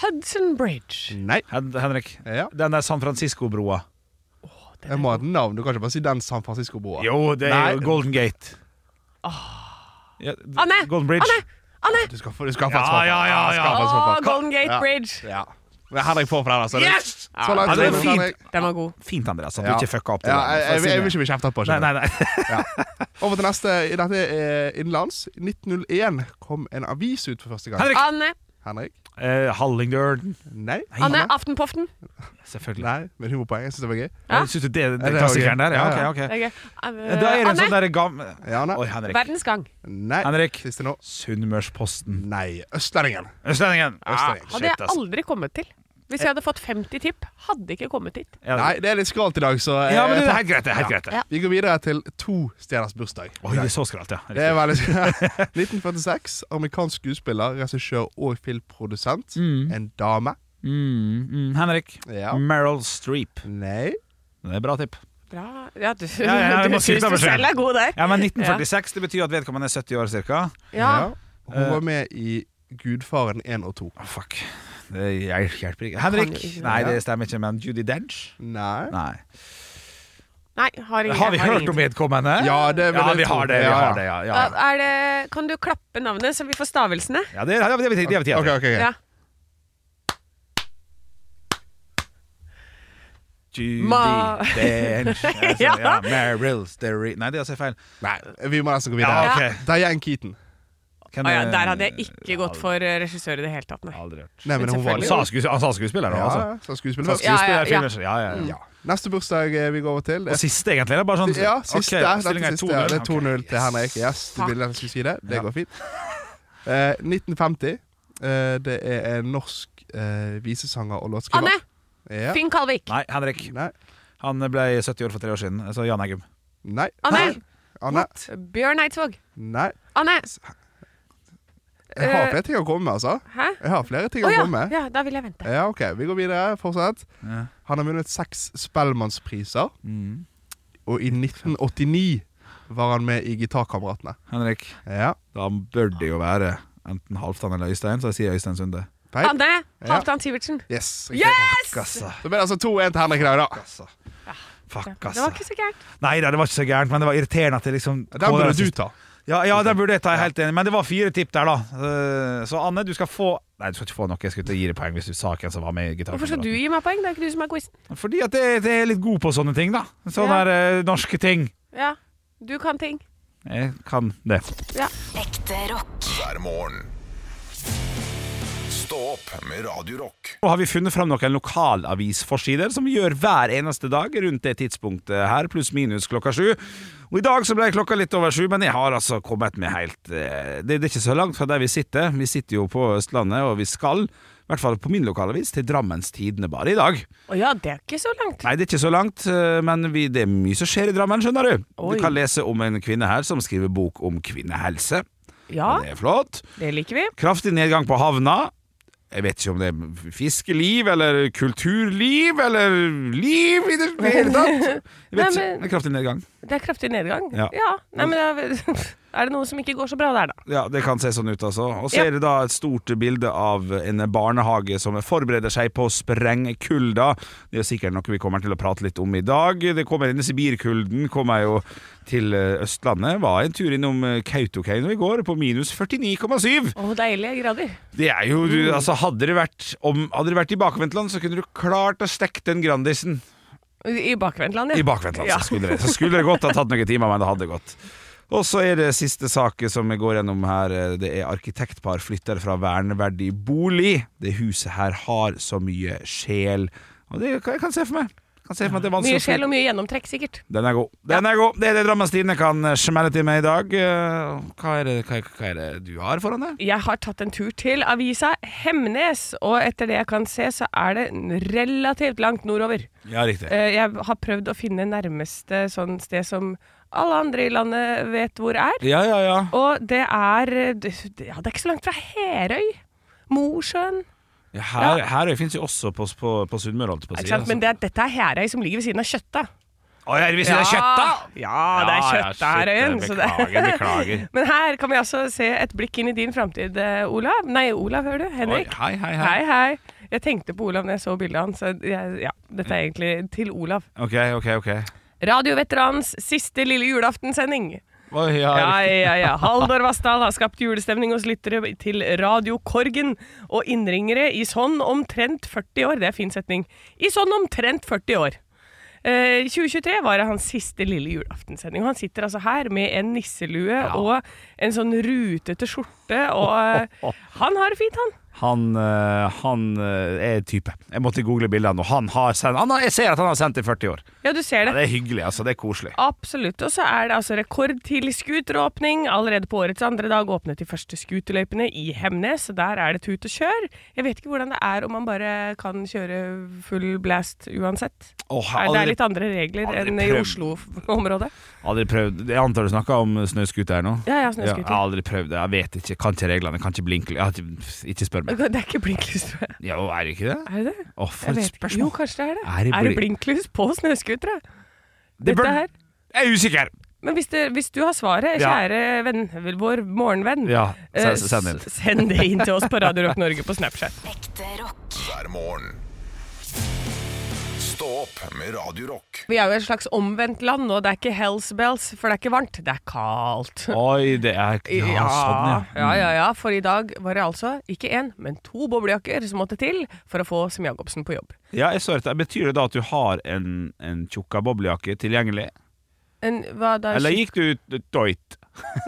C: Hudson Bridge.
G: Nei.
B: Hen Henrik,
G: Ja.
B: den der San Francisco-broa.
G: Jeg må ha et navn. Du kan ikke bare si den San Francisco-broa.
B: Jo, det er jo
G: Nei.
B: Golden Gate. Ja,
C: Anne!
B: Golden Bridge.
C: Anne! Anne!
G: Du skal få, du skal få
B: Ja,
G: et svar på det.
B: ja, ja,
G: Du skal
B: ja.
G: få et svar på det.
C: Åh, Golden Gate
G: Ja.
C: Bridge.
G: Ja. Men Henrik får fra deg, så det
B: Yes!
G: Så langt,
B: Ja, det er
G: så langt,
B: fint.
G: Henrik.
C: Den var god.
B: altså. Fint, Andreas, at
G: Ja.
B: du ikke fucka opp. til
G: Ja,
B: det. altså.
G: jeg, jeg, jeg vil ikke bli kjefta på.
B: Nei,
G: skjønner
B: nei,
G: du.
B: nei.
G: Over til neste. Dette er innenlands. I 1901 kom en avis ut for første gang.
B: Henrik!
C: Anne,
G: Henrik?
B: <laughs> Eh, Hallingdølen.
G: Nei.
C: Anne Aftenpoften.
B: Selvfølgelig.
G: Nei, men humorpoeng. Jeg syns det var gøy.
C: Ja.
B: Jeg Synes du det er
G: det
B: den
G: var
B: klassikeren
G: gøy.
B: der? Ja,
G: Ja, ja.
B: ok, ok.
C: Det er gøy.
B: Da
C: Eh,
B: er det en sånn
C: Anne,
B: derre gammel
G: Ja, Anne?
B: Oi, Henrik.
C: Verdens gang.
G: Nei.
B: Henrik.
G: Siste nå.
B: Sunnmørsposten.
G: Nei. Østlendingen.
B: Østlendingen! Ah,
G: Østlendingen.
C: Hadde
B: shit,
C: jeg
B: ass.
C: aldri kommet til. Hvis jeg hadde fått 50 tipp, hadde ikke kommet hit.
B: Ja,
G: Nei, det er litt skralt i dag, så eh,
B: Ja, men det er
G: takk.
B: helt greit. Det er helt greit. det.
C: Ja.
G: Vi går videre til to stjerners bursdag.
B: Oi, det er så skralt, ja.
G: Det er veldig
B: <laughs>
G: <laughs> 1946. Amerikansk skuespiller, regissør og filmprodusent. En dame.
B: Mm, mm, Henrik.
G: Ja.
B: Meryl Streep.
G: Nei.
B: Det er bra tipp.
C: Bra. Ja, du,
B: ja, jeg
C: du
B: må si det
C: syns du
B: meg selv.
C: selv er god der.
B: Ja, men 1946, det betyr at vedkommende er 70 år cirka.
C: Ja.
G: Ja. Hun
B: Eh.
G: var med i Gudfaren 1 og 2.
B: Å, fuck. Det jeg hjelper ikke. Henrik! Nei, det stemmer ikke, men Judy Dench?
G: Nei.
B: Nei.
C: Nei, har ingen.
B: Har vi hørt om
C: det?
B: vedkommende?
G: Ja, det vil
B: ja,
G: jeg
B: vi
G: tro.
B: har det. Vi
G: Ja, ja.
B: har det, ja. ja.
C: Er det, kan du klappe navnet, så vi får stavelsene?
B: ja det, er- det, er- det, er- det, er- det, er-
G: Ok, ok, ok.
C: Ja.
B: Judy
C: Ma- <laughs>
B: Dench. Altså, ja.
C: Ja.
B: Meryl Streep Nei, det er altså feil.
G: Nei, vi må nesten gå videre.
B: Ja,
G: Ja,
B: ok.
G: Diane Keaton.
B: Kan
C: Ah, ja,
B: jeg-
C: der hadde jeg ikke gått
B: Aldri-
C: for eh, regissør i det hele tatt, nei.
B: Aldri hørt.
G: Nei, men hun var
B: Han
C: Selvfølgelig.
B: sa skues- han sa skuespiller, da.
G: Ja,
B: Altså.
G: så skuespiller
B: Sa
G: først.
C: Ja,
B: skuespiller,
C: ja, ja.
B: filmer- ja, ja, ja.
G: Ja. Neste bursdag eh, vi går over til.
B: Og siste, egentlig? Det er bare sånn
G: Ja, siste.
B: Ok,
G: dette
B: stillingen er
G: siste. ja. Det er
B: 2-0.
G: 2-0 til
B: Ok.
G: Henrik. Yes, du ville jeg skulle si det. Det går fint. Eh, 1950. Eh, det er en norsk eh, visesanger og låtskriver.
C: Anne!
G: Ja.
C: Finn Kalvik.
B: Nei, Henrik.
G: Nei.
B: Han ble 70 år for tre år siden. Altså Jan Eggum.
G: Nei.
C: Anne!
G: Anne.
C: Bjørn Eidsvåg.
G: Nei.
C: Anne!
G: Jeg har
C: Eh,
G: flere ting å komme med, altså.
C: Hæ?
G: Jeg har flere ting
C: Å
G: å
C: ja.
G: komme med.
C: ja, da vil jeg
B: Eh,
C: vente.
G: Ja, ok, Vi går videre. Fortsett.
B: Ja. Mm.
G: Han har vunnet seks Spellemannspriser, og i 1989 var han med i Gitarkameratene.
B: Henrik.
G: Ja.
B: Da bør det jo være enten Halvdan eller Øystein, så jeg sier Øystein Sunde.
G: Feil.
C: Anne
G: Ja.
C: Halvdan Sivertsen.
G: Yes! riktig.
C: Yes!
B: Gassa.
G: Så blir det altså 2-1 til Henrik i dag, da.
C: Ja,
B: Fuck,
C: Det var
B: altså.
C: ikke så gærent.
B: Nei da, det var ikke så gærent, men det var irriterende at det liksom
G: Den burde du ta.
B: Ja, ja den burde jeg ta, jeg er helt enig. Men det var fire tipp der, da. Eh, Så Anne, du skal få Nei, du skal ikke få noe. Jeg skulle til å gi deg poeng hvis du sa hvem som var med i
C: Hvorfor skal du
B: gitarkameraten.
C: gi meg poeng? Det er ikke du som er quizen.
B: Fordi at jeg jeg er litt god på sånne ting, da. Sånne
C: Ja.
B: der, eh, norske ting.
C: Ja. Du kan ting.
B: Jeg kan det.
D: Ekte rock.
A: hver morgen. Stå opp med Radio Rock.
B: Nå har vi funnet fram noen lokalavisforsider som vi gjør hver eneste dag rundt det tidspunktet her, pluss minus klokka sju. Og I dag så ble klokka litt over sju, men jeg har altså kommet med helt eh, Det, det er ikke så langt fra der vi sitter. Vi sitter jo på Østlandet, og vi skal, i hvert fall på min lokalavis, til Drammens Tidende bare i dag.
C: Å ja, det er ikke så langt.
B: Nei, det er ikke så langt, eh, men vi, det er mye som skjer i Drammen, skjønner du.
C: Oi.
B: Du kan lese om en kvinne her som skriver bok om kvinnehelse.
C: Ja,
B: Det er flott.
C: det liker vi.
B: Kraftig nedgang på havna. Jeg vet ikke om det er fiskeliv eller kulturliv eller liv i det hele
C: <laughs>
B: tatt. Jeg
C: Nei,
B: vet ikke.
C: men-
B: Det er Kraftig nedgang.
C: Det er kraftig nedgang.
B: Ja.
C: Nei, men det er, <laughs> er det noe som ikke går så bra der, da?
B: Ja, Det kan se sånn ut, altså. Og så
C: Ja.
B: er det da et stort bilde av en barnehage som forbereder seg på å sprenge kulda. Det er sikkert noe vi kommer til å prate litt om i dag. Det kommer Denne sibirkulden kommer jo til eh, Østlandet. Var en tur innom eh, Kautokeino i går, på minus 49,7.
C: Å, deilige grader.
B: Det er jo, du, altså Hadde det vært om, Hadde det vært i bakvendtland, så kunne du klart å stekke den Grandisen.
C: I bakvendtland, ja.
B: <laughs> I bakvendtland,
C: Ja.
B: så, skulle det, så skulle det godt ha tatt noen timer, men det hadde gått. Og så er det siste saken som jeg går gjennom her. Det er arkitektpar flytter fra verneverdig bolig. Det huset her har så mye sjel. Og det kan jeg kan se for meg. Kan se for meg at det er vanskelig
C: Mye
B: å flytte.
C: sjel og mye gjennomtrekk, sikkert.
B: Den er god. Den er god. Det er det Drammens Tidende kan smelle til meg i dag. Eh, Hva er det, hva er, hva er det du har foran deg?
C: Jeg har tatt en tur til avisa Hemnes, og etter det jeg kan se, så er det relativt langt nordover.
B: Ja, riktig.
C: Eh, Jeg har prøvd å finne nærmeste sånn sted som alle andre i landet vet hvor er.
B: Ja, ja, ja.
C: Og det er eh, det- Ja, det er ikke så langt fra Herøy. Mosjøen.
B: Ja, her, Herøy fins jo også på, på, på Sunnmøre, holdt jeg på å
C: Ikke
B: si.
C: sant?
B: Altså.
C: Men det, er- dette er Herøy som ligger ved siden av Kjøtta.
B: Å, ja, hvis det er kjøtt, da!
C: Ja, det er kjøtt
B: ja,
C: her
B: shit,
C: øyen. så det-
B: Beklager, beklager.
C: <laughs> Men her kan vi altså se et blikk inn i din framtid, eh, Olav. Nei, Olav, hører du?
B: Oi,
C: Henrik.
B: hei, hei, hei.
C: Hei, hei. Jeg tenkte på Olav når jeg så bildet hans. så jeg- Ja, dette
B: Mm.
C: er egentlig til Olav.
B: Ok, ok, ok.
C: Radioveteranens siste lille julaftensending.
B: Oi, ja,
C: Ja,
B: riktig.
C: ja,
B: <laughs>
C: ja. Haldor Vassdal har skapt julestemning hos lyttere til Radio Korgen og innringere i sånn omtrent 40 år. Det er en fin setning. I sånn omtrent 40 år. Eh, 2023 var det hans siste lille julaftensending. Og han sitter altså her med en nisselue og en sånn rutete skjorte, og
B: <laughs>
C: eh, han har det fint, han.
B: Han, eh, han eh, er type. Jeg måtte google bildene, og han har sendt han har, Jeg ser at han har sendt i 40 år.
C: Ja, du ser
B: Ja,
C: det.
B: det er hyggelig, altså. Det er koselig.
C: Absolutt. Og så er det altså rekordtidlig skuteråpning. Allerede på årets andre dag åpnet de første skuterløypene i Hemnes. og Der er det tut og kjør. Jeg vet ikke hvordan det er om man bare kan kjøre full blast uansett.
B: Åh, jeg har
C: Er det er
B: aldri,
C: litt andre regler
B: aldri
C: enn i
B: prøvd.
C: Oslo-området.
B: aldri prøvd Jeg antar du snakker om snøscooter nå?
C: Ja, jeg har
B: Ja, jeg
C: snøskuter.
B: har aldri prøvd det. Jeg vet ikke. Kan ikke reglene. Kan ikke blinke. Jeg har ikke, ikke spør meg.
C: <laughs> Det er ikke blinklys, tror jeg.
B: Ja, er det ikke det?
C: Er det det?
B: Å,
C: Jeg
B: for et
C: vet ikke. Jo,
B: spørsmål.
C: kanskje det er det.
B: Er det
C: Er det
B: bli-
C: blinklys på snøskutere?
B: Det bør-
C: Dette her.
B: Jeg er usikker!
C: Men hvis, det, hvis du har svaret,
B: Ja.
C: kjære venn, vår morgenvenn,
B: Ja,
C: eh,
B: s- send inn.
C: s- send det inn til oss på Radio Rock Norge på Snapchat.
D: Ekte rock.
A: hver morgen. Stå opp med Radio Rock.
C: Vi er jo et slags omvendt land nå. Det er ikke Hells Bells, for det er ikke varmt. Det er kaldt.
B: Oi, det er Ja, sånn, ja.
C: ja, ja, ja. For i dag var det altså ikke én, men to boblejakker som måtte til for å få Sem Jacobsen på jobb.
B: ja jeg så dette. Betyr det da at du har en, en tjukka boblejakke tilgjengelig?
C: En, hva da?
B: Eller gikk du ut doit?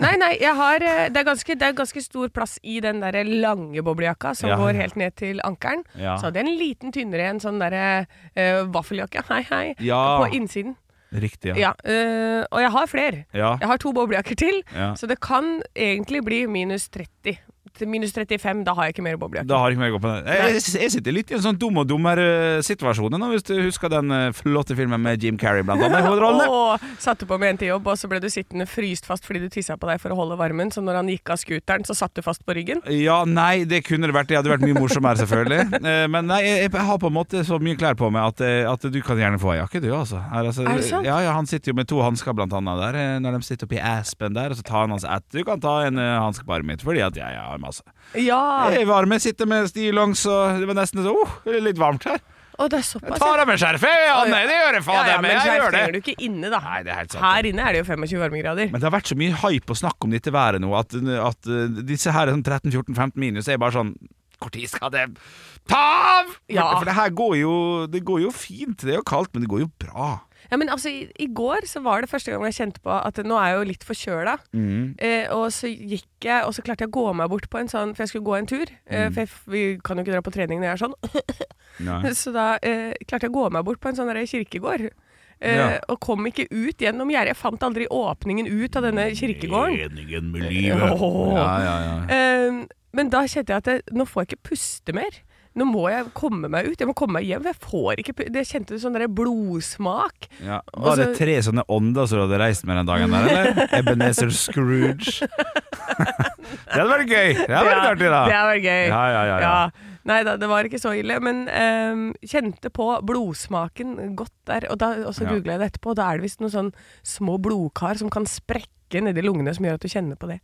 C: Nei, nei, jeg har eh, det er, ganske, det er ganske stor plass i den der lange boblejakka som
B: Ja,
C: går
B: ja.
C: helt ned til ankelen.
B: Ja.
C: Så hadde jeg en liten tynnere en sånn derre eh, vaffeljakke, hei, hei,
B: Ja.
C: på innsiden.
B: Riktig, ja.
C: Ja. eh, og jeg har flere.
B: Ja.
C: Jeg har to boblejakker til,
B: Ja.
C: så det kan egentlig bli minus 30. Til minus 35, da har jeg ikke mer boblejakker.
B: Da har jeg ikke mer å gå på den. Jeg, jeg, jeg sitter litt i en sånn dum og dummere-situasjon nå, hvis du husker den eh, flotte filmen med Jim Carrey blant annet i hovedrollene.
C: Og satte på med en til jobb, og så ble du sittende fryst fast fordi du tissa på deg for å holde varmen. Så når han gikk av scooteren, så satt du fast på ryggen.
B: Ja, nei, det kunne det vært. Det hadde vært mye morsommere, selvfølgelig. Eh, Men nei, jeg, jeg har på en måte så mye klær på meg at, eh, at du kan gjerne få ei jakke, du, altså. Her, altså.
C: Er det sant?
B: Ja, ja, Han sitter jo med to hansker, blant annet, der. eh, Når de sitter oppi aspen der, og så tar han hans ett. Du kan ta en eh, hanske på armen mitt, fordi at jeg har masse.
C: Ja!
B: Jeg er varme, Eh, sitter med stillongs, og det var nesten så oh, det er litt varmt her.
C: Og det er såpass.
B: Jeg tar av meg skjerfet! Ja,
C: Oi.
B: nei, det gjør jeg faen
C: ja, ja,
B: meg!
C: men
B: Jeg
C: skjerf
B: gjør det.
C: trenger du ikke inne, da.
B: Nei, det er helt sant.
C: Her inne er det jo 25 varmegrader.
B: Men det har vært så mye hype og snakk om dette været nå, at, at uh, disse her sånn 13-14-15 minus er bare sånn Hvor tid skal det ta av?!
C: Ja.
B: For det her går jo, det går jo fint. Det er jo kaldt, men det går jo bra.
C: Ja, men altså, i, I går så var det første gang jeg kjente på at nå er jeg jo litt forkjøla.
B: Mm.
C: Eh, og så gikk jeg, og så klarte jeg å gå meg bort på en sånn, for jeg skulle gå en tur. Eh,
B: Mm.
C: for jeg, f- vi kan jo ikke dra på trening når jeg er sånn. <laughs> Så da eh, klarte jeg å gå meg bort på en sånn der kirkegård. Eh,
B: Ja.
C: Og kom ikke ut gjennom gjerdet. Jeg fant aldri åpningen ut av denne <laughs> kirkegården.
B: Meningen med livet.
C: Åh.
B: Ja, ja, ja.
C: Eh, men da kjente jeg at det, nå får jeg ikke puste mer. Nå må jeg komme meg ut. Jeg må komme meg hjem. for Jeg får ikke pu- Det kjente sånn der blodsmak.
B: Ja.
C: Og
B: Var det
C: så-
B: tre sånne ånder som du hadde reist med den dagen der,
C: <laughs>
B: eller? Ebenezer Scrooge. det hadde vært gøy! Det hadde vært artig, da.
C: Det hadde vært gøy.
B: Ja, ja, ja, ja.
C: Nei da, det var ikke så ille. Men ehm, kjente på blodsmaken godt der. Og, da, og så
B: Ja.
C: googla jeg det etterpå, og da er det visst noen sånn små blodkar som kan sprekke nedi lungene, som gjør at du kjenner på det.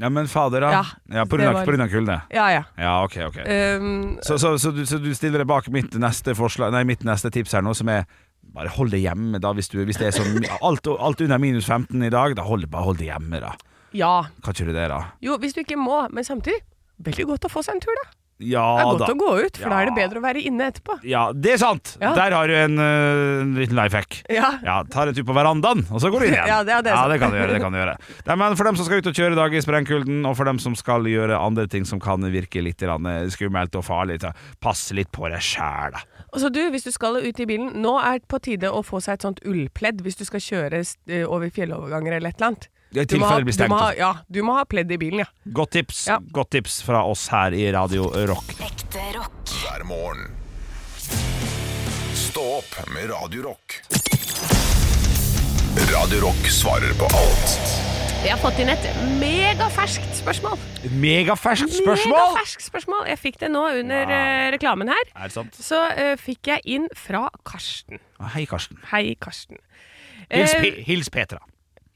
B: Ja, men fader, da.
C: Ja,
B: Ja, på
C: det
B: grunn av-
C: var-
B: på grunn av kulde.
C: Ja ja.
B: Ja, ok, ok.
C: Ehm,
B: Så, så, så, du, så du stiller deg bak mitt neste, forslag, nei, mitt neste tips her nå, som er bare hold det hjemme, da, hvis, du, hvis det er sånn alt, alt under minus 15 i dag, da hold, bare hold det hjemme, da.
C: ja.
B: Kan ikke du det, da?
C: Jo, hvis du ikke må, men samtidig. Veldig godt å få seg en tur, da.
B: Ja
C: Det er
B: da.
C: godt å gå ut, for da er det
B: Ja.
C: bedre å være inne etterpå.
B: Ja, det er sant!
C: Ja.
B: Der har du en, eh, en liten life hack.
C: Ja.
B: Ja, tar en tur på verandaen, og så går du inn igjen.
C: <laughs> Ja, det- ja, det er sant.
B: kan du gjøre. det kan du gjøre Nei, men For dem som skal ut og kjøre i dag i sprengkulden, og for dem som skal gjøre andre ting som kan virke litt grann, eh, skummelt og farlig, så pass litt på deg sjæl, da.
C: Og så du, hvis du skal ut i bilen, nå er det på tide å få seg et sånt ullpledd hvis du skal kjøre eh, over fjelloverganger eller et eller annet.
B: I
C: Du må ha-
B: tilfelle det blir
C: du må
B: stengt.
C: ha- Ja, du må ha pledd i bilen, ja.
B: Godt tips,
C: Ja.
B: godt tips fra oss her i Radio Rock.
D: Ekte rock.
A: hver morgen. Stå opp med Radio Rock. Radio Rock svarer på alt
C: Jeg har fått inn et megaferskt spørsmål.
B: Megaferskt spørsmål!
C: Megaferskt spørsmål. Jeg fikk det nå under eh, reklamen her.
B: Er det sant? Ah,
C: Så eh, fikk jeg inn fra Karsten.
B: Hei, Karsten.
C: Hei, Karsten.
B: Hils,
C: Eh,
B: Pe- hils Petra.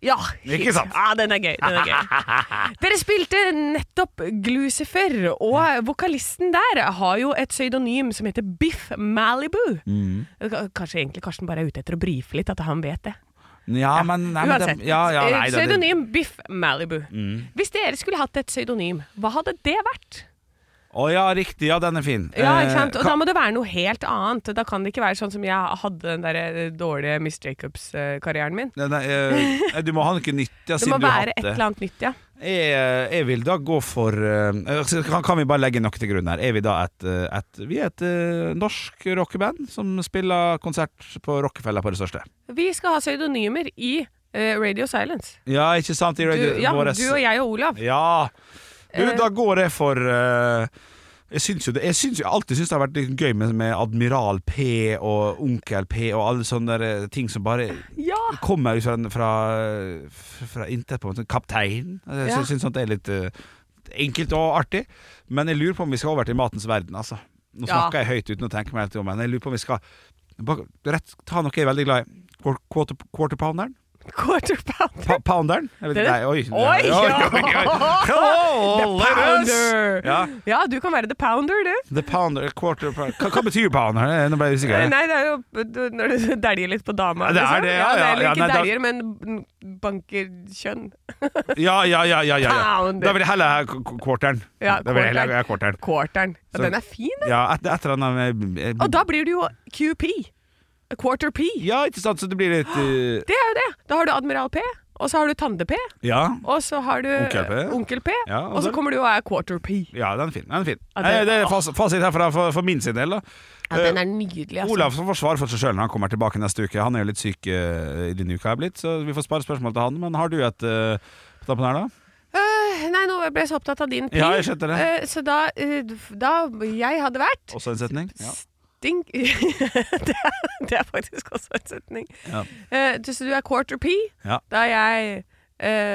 C: Ja,
B: Ikke
C: shit.
B: sant?
C: Ja, den er gøy. Den er gøy.
B: <laughs>
C: Dere spilte nettopp Glucifer, og vokalisten der har jo et pseudonym som heter
B: Mm.
C: Biff Malibu. K- Kanskje egentlig Karsten bare er ute etter å brife litt, at han vet det.
B: Ja, men, nei, men
C: Uansett.
B: det, ja, ja, nei, da,
C: Eh,
B: det, Mm.
C: pseudonym Biff Malibu. Hvis dere skulle hatt et pseudonym, hva hadde det vært?
B: Å ja, riktig. Ja, den er fin.
C: Ja,
B: Eh,
C: ikke sant? Og
B: ka-
C: da må det være noe helt annet. Da kan det ikke være sånn som jeg hadde den der eh, dårlige Miss Jacobs-karrieren min.
B: Nei, nei, eh, du må ha noe nytt, ja,
C: Det må
B: siden du har
C: være
B: hatt
C: et
B: det.
C: eller annet nytt, ja.
B: Jeg, jeg vil da gå for eh, altså, kan, kan vi bare legge noe til grunn her? Er vi da et, eh, et Vi er et eh, norsk rockeband som spiller konsert på Rockefeller på det største.
C: Vi skal ha pseudonymer i eh, Radio Silence.
B: Ja, ikke sant? I
C: Du,
B: radio-
C: ja,
B: våres-
C: du og jeg og Olav.
B: Ja. Du, da går jeg for eh, jeg syns jo det Jeg syns jo jeg alltid syns det har vært litt gøy med, med Admiral P og Onkel P og alle sånne der, eh, ting som bare
C: Ja!
B: kommer ut fra, fra, fra intet, på en måte. Kaptein. Jeg
C: Ja.
B: syns- syns sånt er litt eh, enkelt og artig. Men jeg lurer på om vi skal over til matens verden, altså. Nå
C: Ja.
B: snakker jeg høyt uten å tenke meg helt om, men jeg lurer på om vi skal bare, rett, ta noe jeg er veldig glad i. Quar- Quarter, quarter pounderen?
C: Quarter pounder.
B: Pa pounderen? Jeg vet,
C: Det er-
B: nei, oi,
C: Oi,
B: oi,
C: ja.
B: oi, oi.
C: <laughs>
B: Hello,
C: The
B: let us-
C: pounder.
B: Ja,
C: Ja, du kan være the pounder, du.
B: the pounder, quarter pounder. Hva, hva betyr pounder? Eh, Nå ble jeg usikker.
C: Nei, det er jo du- når du <laughs> dæljer litt på dama.
B: Ja, det er
C: liksom.
B: det, ja, ja,
C: eller
B: ja,
C: ikke
B: nei, da-
C: dæljer, men banker kjønn.
B: Ja, ja, ja. ja, ja, ja.
C: Pounder.
B: Da vil jeg heller ha qu- qu- quarteren.
C: Ja,
B: da vil jeg heller ha
C: quarteren.
B: quarteren.
C: <laughs> Quarteren. Ja,
B: Så-
C: den er fin, da.
B: Ja, et, et eller annet med- eh,
C: Og da blir du jo QP. Quarter P.
B: Ja, ikke sant, så det blir litt eh,
C: Det er jo det. Da har du Admiral P, og så har du Tande-P,
B: Ja.
C: og så har du
B: Onkel P.
C: Onkel P,
B: Ja, og
C: og så
B: da-
C: kommer du og er Quarter P.
B: Ja, den er fin. Den er fin.
C: Ja, det-
B: Eh, det er fas fasit herfra for, for min sin del, da.
C: Ja, den er nydelig, altså.
B: Eh, Olav som får svar for seg sjøl når han kommer tilbake neste uke. Han er jo litt syk eh, i denne uka, er blitt, så vi får spare spørsmål til han. Men har du et eh, på tampen her, da?
C: Øh, nei, nå ble jeg så opptatt av din P.
B: Ja, jeg skjønte det.
C: Øh, så da, øh, da jeg hadde vært
B: Også en setning? Ja.
C: Ding <laughs> det, er, det er faktisk også en setning.
B: Ja.
C: Eh, du- så du er quarter P,
B: Ja.
C: da er jeg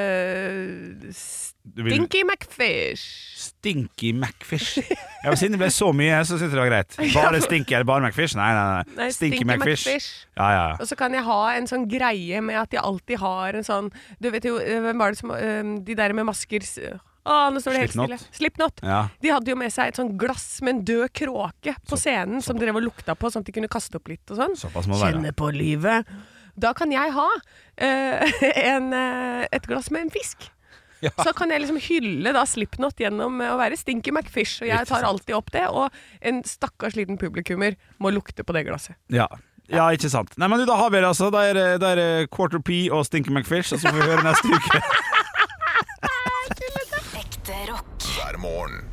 C: eh,
B: Du vil-
C: Stinky McFish.
B: Stinky McFish. Ja, men Siden det ble så mye, så syns jeg det var greit. Bare stinky, eller bare McFish? Nei, nei, nei.
C: Nei,
B: Stinky,
C: Stinky
B: McFish.
C: McFish.
B: Ja, ja, ja.
C: Og så kan jeg ha en sånn greie med at jeg alltid har en sånn Du vet jo, eh, hvem var det som eh, De der med masker s- Å, nå står det helt stille.
B: Slipknot.
C: Slipknot.
B: Ja.
C: De hadde jo med seg et sånn glass med en død kråke på scenen som drev og lukta på, sånn at de kunne kaste opp litt og sånn.
B: Såpass må det være.
C: Kjenne på livet. Da kan jeg ha eh, <laughs> en, eh, et glass med en fisk. Så kan jeg liksom hylle da Slipknot gjennom eh, å være Stinky McFish, og jeg tar alltid opp det. Og en stakkars liten publikummer må lukte på det glasset.
B: Ja. ja, ikke sant. Nei, men du, Da har vi det, altså. Da er det, da er det Quarter P og Stinky McFish, og så får vi høre neste uke.
D: Ekte rock.
A: hver morgen.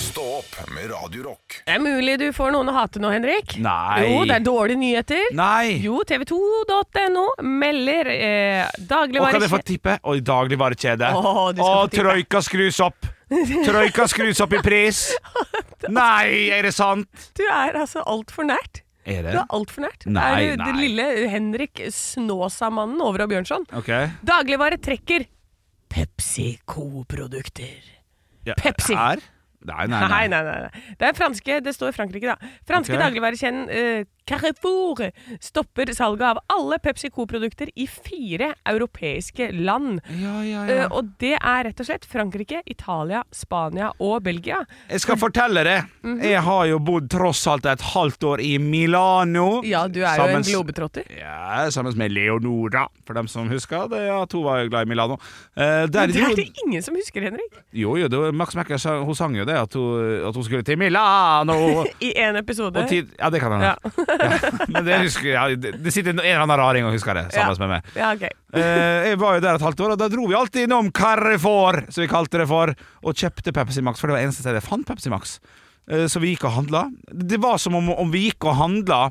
A: Stå opp med Radio Rock.
C: Det er mulig du får noen å hate nå, Henrik.
B: Nei.
C: Jo, det er dårlige nyheter.
B: Nei!
C: Jo, tv2.no melder eh,
B: Og kan jeg få
C: dagligvarekjede
B: tippe? Og i dagligvarekjede.
C: Åh, du skal få
B: Og
C: tippe.
B: troika skrus opp! Troika skrus opp i
C: <laughs>
B: pris! Nei, er det sant?
C: Du er altså altfor nært.
B: Er
C: Du er altfor nært.
B: Nei,
C: er du
B: nei.
C: den lille Henrik Snåsa-mannen over av Bjørnson?
B: Ok.
C: Dagligvare trekker PepsiCo-produkter.
B: Ja,
C: Pepsi.
B: Her? Nei, nei,
C: Nei,
B: nei.
C: nei, nei. nei. Det er franske, det står Frankrike, da. Franske
B: Ok.
C: dagligvarekjeden eh, Carrefour stopper salget av alle PepsiCo-produkter i fire europeiske land.
B: Ja, ja,
C: Eh,
B: ja.
C: og det er rett og slett Frankrike, Italia, Spania og Belgia.
B: Jeg skal fortelle det.
C: Mhm.
B: Jeg har jo bodd tross alt et halvt år i Milano.
C: Ja, du er jo en
B: Sammens-
C: globetrotter.
B: Ja, sammen med Leonora, for dem som husker. Det, ja, to var jo glad i Milano. Eh, der,
C: Men det er det ingen som husker, Henrik.
B: jo, jo, det var Max Mekker sa- hun sang jo det, at hun, at hun skulle til Milano.
C: I én episode.
B: Og tid, ja, det kan hende.
C: Ja.
B: Ja. <laughs> Men det, husker, jeg- ja, det det sitter en eller annen raring og husker det, sammen
C: Ja.
B: med meg.
C: Ja, ok.
B: Eh, jeg var jo der et halvt år, og da dro vi alltid innom Carrefour, som vi kalte det for, og kjøpte Pepsi Max, for det var eneste stedet jeg fant Pepsi Max. Eh, så vi gikk og handla. Det var som om, om vi gikk og handla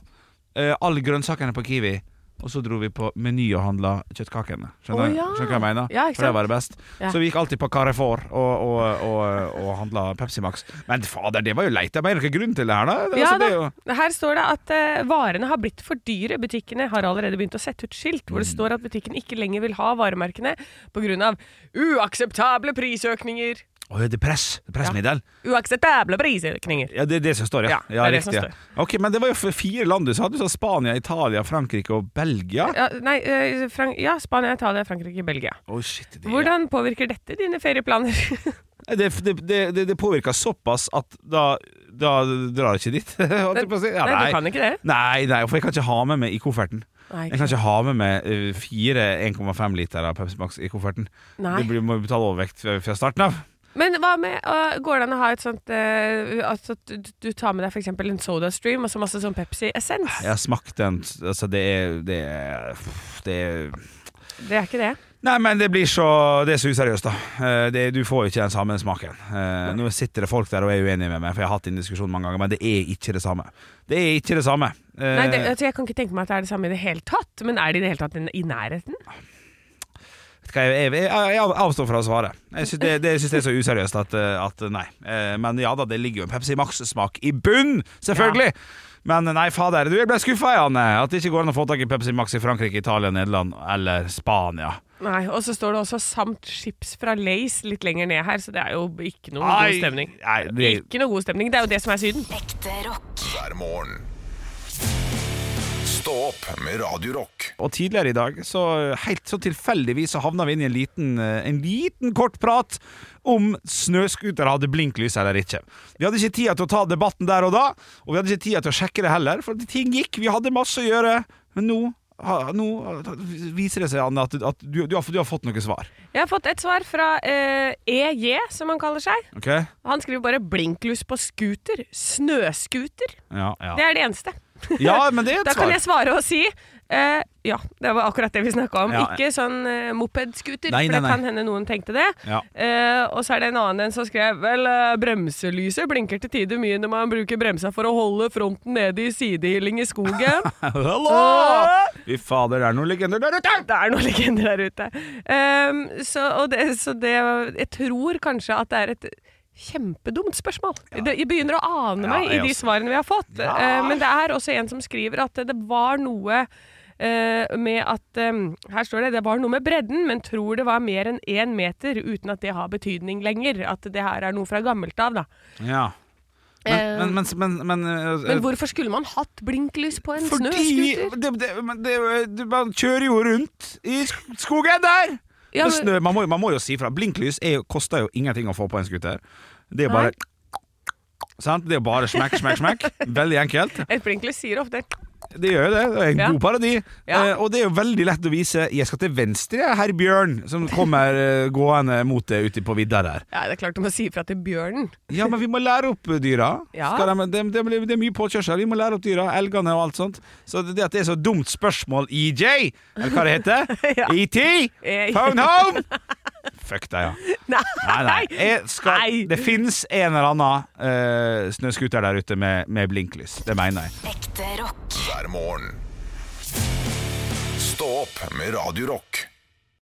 B: eh, alle grønnsakene på Kiwi, og så dro vi på Meny og handla kjøttkakene. Skjønner
C: Å,
B: du
C: ja.
B: Skjønner du hva jeg mener?
C: Ja, ikke
B: for det
C: sant?
B: var det best.
C: Ja.
B: Så vi gikk alltid på Carrefour og, og, og, og handla Pepsi Max. Men fader, det var jo leit. Det er noen grunn til det her, da.
C: Ja
B: Altså, det er jo-
C: da. Her står det at eh, varene har blitt for dyre. Butikkene har allerede begynt å sette ut skilt
B: Mm.
C: hvor det står at butikken ikke lenger vil ha varemerkene pga. uakseptable prisøkninger.
B: Å, det er press. Det er Pressmiddel.
C: Uakseptable prisøkninger.
B: Ja, det er det som står, ja.
C: Ja, det er det som
B: riktig, ja. Ok, Men det var jo f- fire land du sa. Du sa Spania, Italia, Frankrike og Belgia.
C: Ja, nei, eh, Frank ja, Spania, Italia, Frankrike, Belgia.
B: Å, shit, det,
C: Hvordan påvirker dette dine ferieplaner?
B: <laughs> det, det, det, det, det påvirker såpass at da, da drar jeg ikke dit. <laughs> holdt jeg på å si. Ja,
C: nei, du kan ikke det.
B: Nei, nei, for jeg kan ikke ha med meg i kofferten.
C: Nei,
B: Jeg kan ikke ha med meg eh, fire 1,5 liter av Pepsi Max i kofferten.
C: Nei.
B: Du blir- må jo betale overvekt fra fra starten av.
C: Men hva med øh, Går det an å ha et sånt øh, altså At du, du tar med deg for eksempel en Soda Stream og så masse sånn Pepsi Essence?
B: Jeg har smakt den Altså, det er Det er, det er
C: Det er ikke det.
B: Nei, men det blir så Det er så useriøst, da. Eh, Det, du får jo ikke den samme smaken. Eh, Nå sitter det folk der og er uenige med meg, for jeg har hatt den diskusjonen mange ganger, men det er ikke det samme. Det er ikke det samme. Eh,
C: Nei, det, altså, jeg kan ikke tenke meg at det er det samme i det hele tatt. Men er det i det hele tatt i nærheten?
B: vet du hva, jeg, jeg, jeg, jeg avstår fra å svare. Jeg syns det, det, synes det er så useriøst at, eh, at nei. Eh, Men ja da, det ligger jo en Pepsi Max-smak i bunn, selvfølgelig! Men nei, fader, du, jeg ble skuffa, Janne. At det ikke går an å få tak i Pepsi Max i Frankrike, Italia, Nederland eller Spania.
C: Nei, Og så står det også 'samt chips fra Lace' litt lenger ned her, så det er jo ikke noe
B: Ai,
C: god stemning.
B: Nei, det,
C: Ikke noe god stemning. Det er jo det som er Syden.
D: Ekte rock.
A: hver morgen. Stå opp med Radio Rock.
B: Og tidligere i dag, så helt så tilfeldigvis, så havna vi inn i en liten, eh, en liten kort prat om snøscooter hadde blinklys eller ikke. Vi hadde ikke tid til å ta debatten der og da, og vi hadde ikke tid til å sjekke det heller, for ting gikk, vi hadde masse å gjøre. Men nå, ha- nå eh, viser det seg, Anne, at, at du, du, har, du har fått noe svar.
C: Jeg har fått et svar fra eh, EJ, som han kaller seg.
B: Ok?
C: Han skriver bare 'blinklys på scooter'. Snøscooter.
B: Ja, ja.
C: Det er det eneste.
B: ja men det er
C: <laughs> Da
B: et
C: kan
B: svar.
C: jeg svare og si eh, ja, det var akkurat det vi snakka om.
B: Ja.
C: Ikke sånn eh, mopedskuter,
B: Nei,
C: for
B: nei,
C: det
B: nei.
C: kan hende noen tenkte det.
B: Ja.
C: Eh, og så er det en annen en som skrev vel eh, bremselyset blinker til tider mye når man bruker bremsa for å holde fronten nede i sidehylling i skogen.
B: <laughs> Hallo! Fy fader, det er noen legender der ute!
C: det er noen legender der ute. Ehm, så, og det, så det Jeg tror kanskje at det er et kjempedumt spørsmål. Det, jeg begynner å ane
B: Ja,
C: meg i
B: jeg
C: de
B: også.
C: svarene vi har fått. Eh, men det er også en som skriver at det var noe eh, med at eh, Her står det det var noe med bredden, men tror det var mer enn én meter, uten at det har betydning lenger. At det her er noe fra gammelt av, da. Eh,
B: Ja. Men, men, men, men, eh, men,
C: Men hvorfor skulle man hatt blinklys på en
B: Fordi
C: snøscooter?
B: det, det, men det, det, Man kjører jo rundt i sk- skogen der!
C: Ja,
B: Med
C: men-
B: snø, man, må, man må jo si fra. Blinklys er, jo- koster jo ingenting å få på en scooter. Det er jo bare Sant? Det er jo bare smekk, smekk, smekk. Veldig enkelt.
C: Et blinklys sier ofte
B: Det gjør jo det. Det er en
C: Ja.
B: god parodi.
C: Ja.
B: Eh, og det er jo veldig lett å vise 'jeg skal til venstre, herr Bjørn', som kommer eh, gående mot deg ute på vidda der.
C: Ja, det er klart du må si ifra til bjørnen.
B: Ja, men vi må lære opp dyra.
C: Ja.
B: Skal de, det, det, blir- det er mye påkjørsel. Vi må lære opp dyra. Elgene og alt sånt. Så det, det at det er så dumt spørsmål, EJ, eller hva det heter,
C: <laughs> Ja.
B: ET,
C: Eh,
B: phone home! Fuck deg, ja.
C: <laughs> Nei,
B: Nei, nei. Jeg skal,
C: Nei.
B: Det fins en eller annen uh, snøscooter der ute med, med blinklys. Det mener jeg.
D: Ekte rock.
A: Hver morgen. Stå opp med Radio Rock.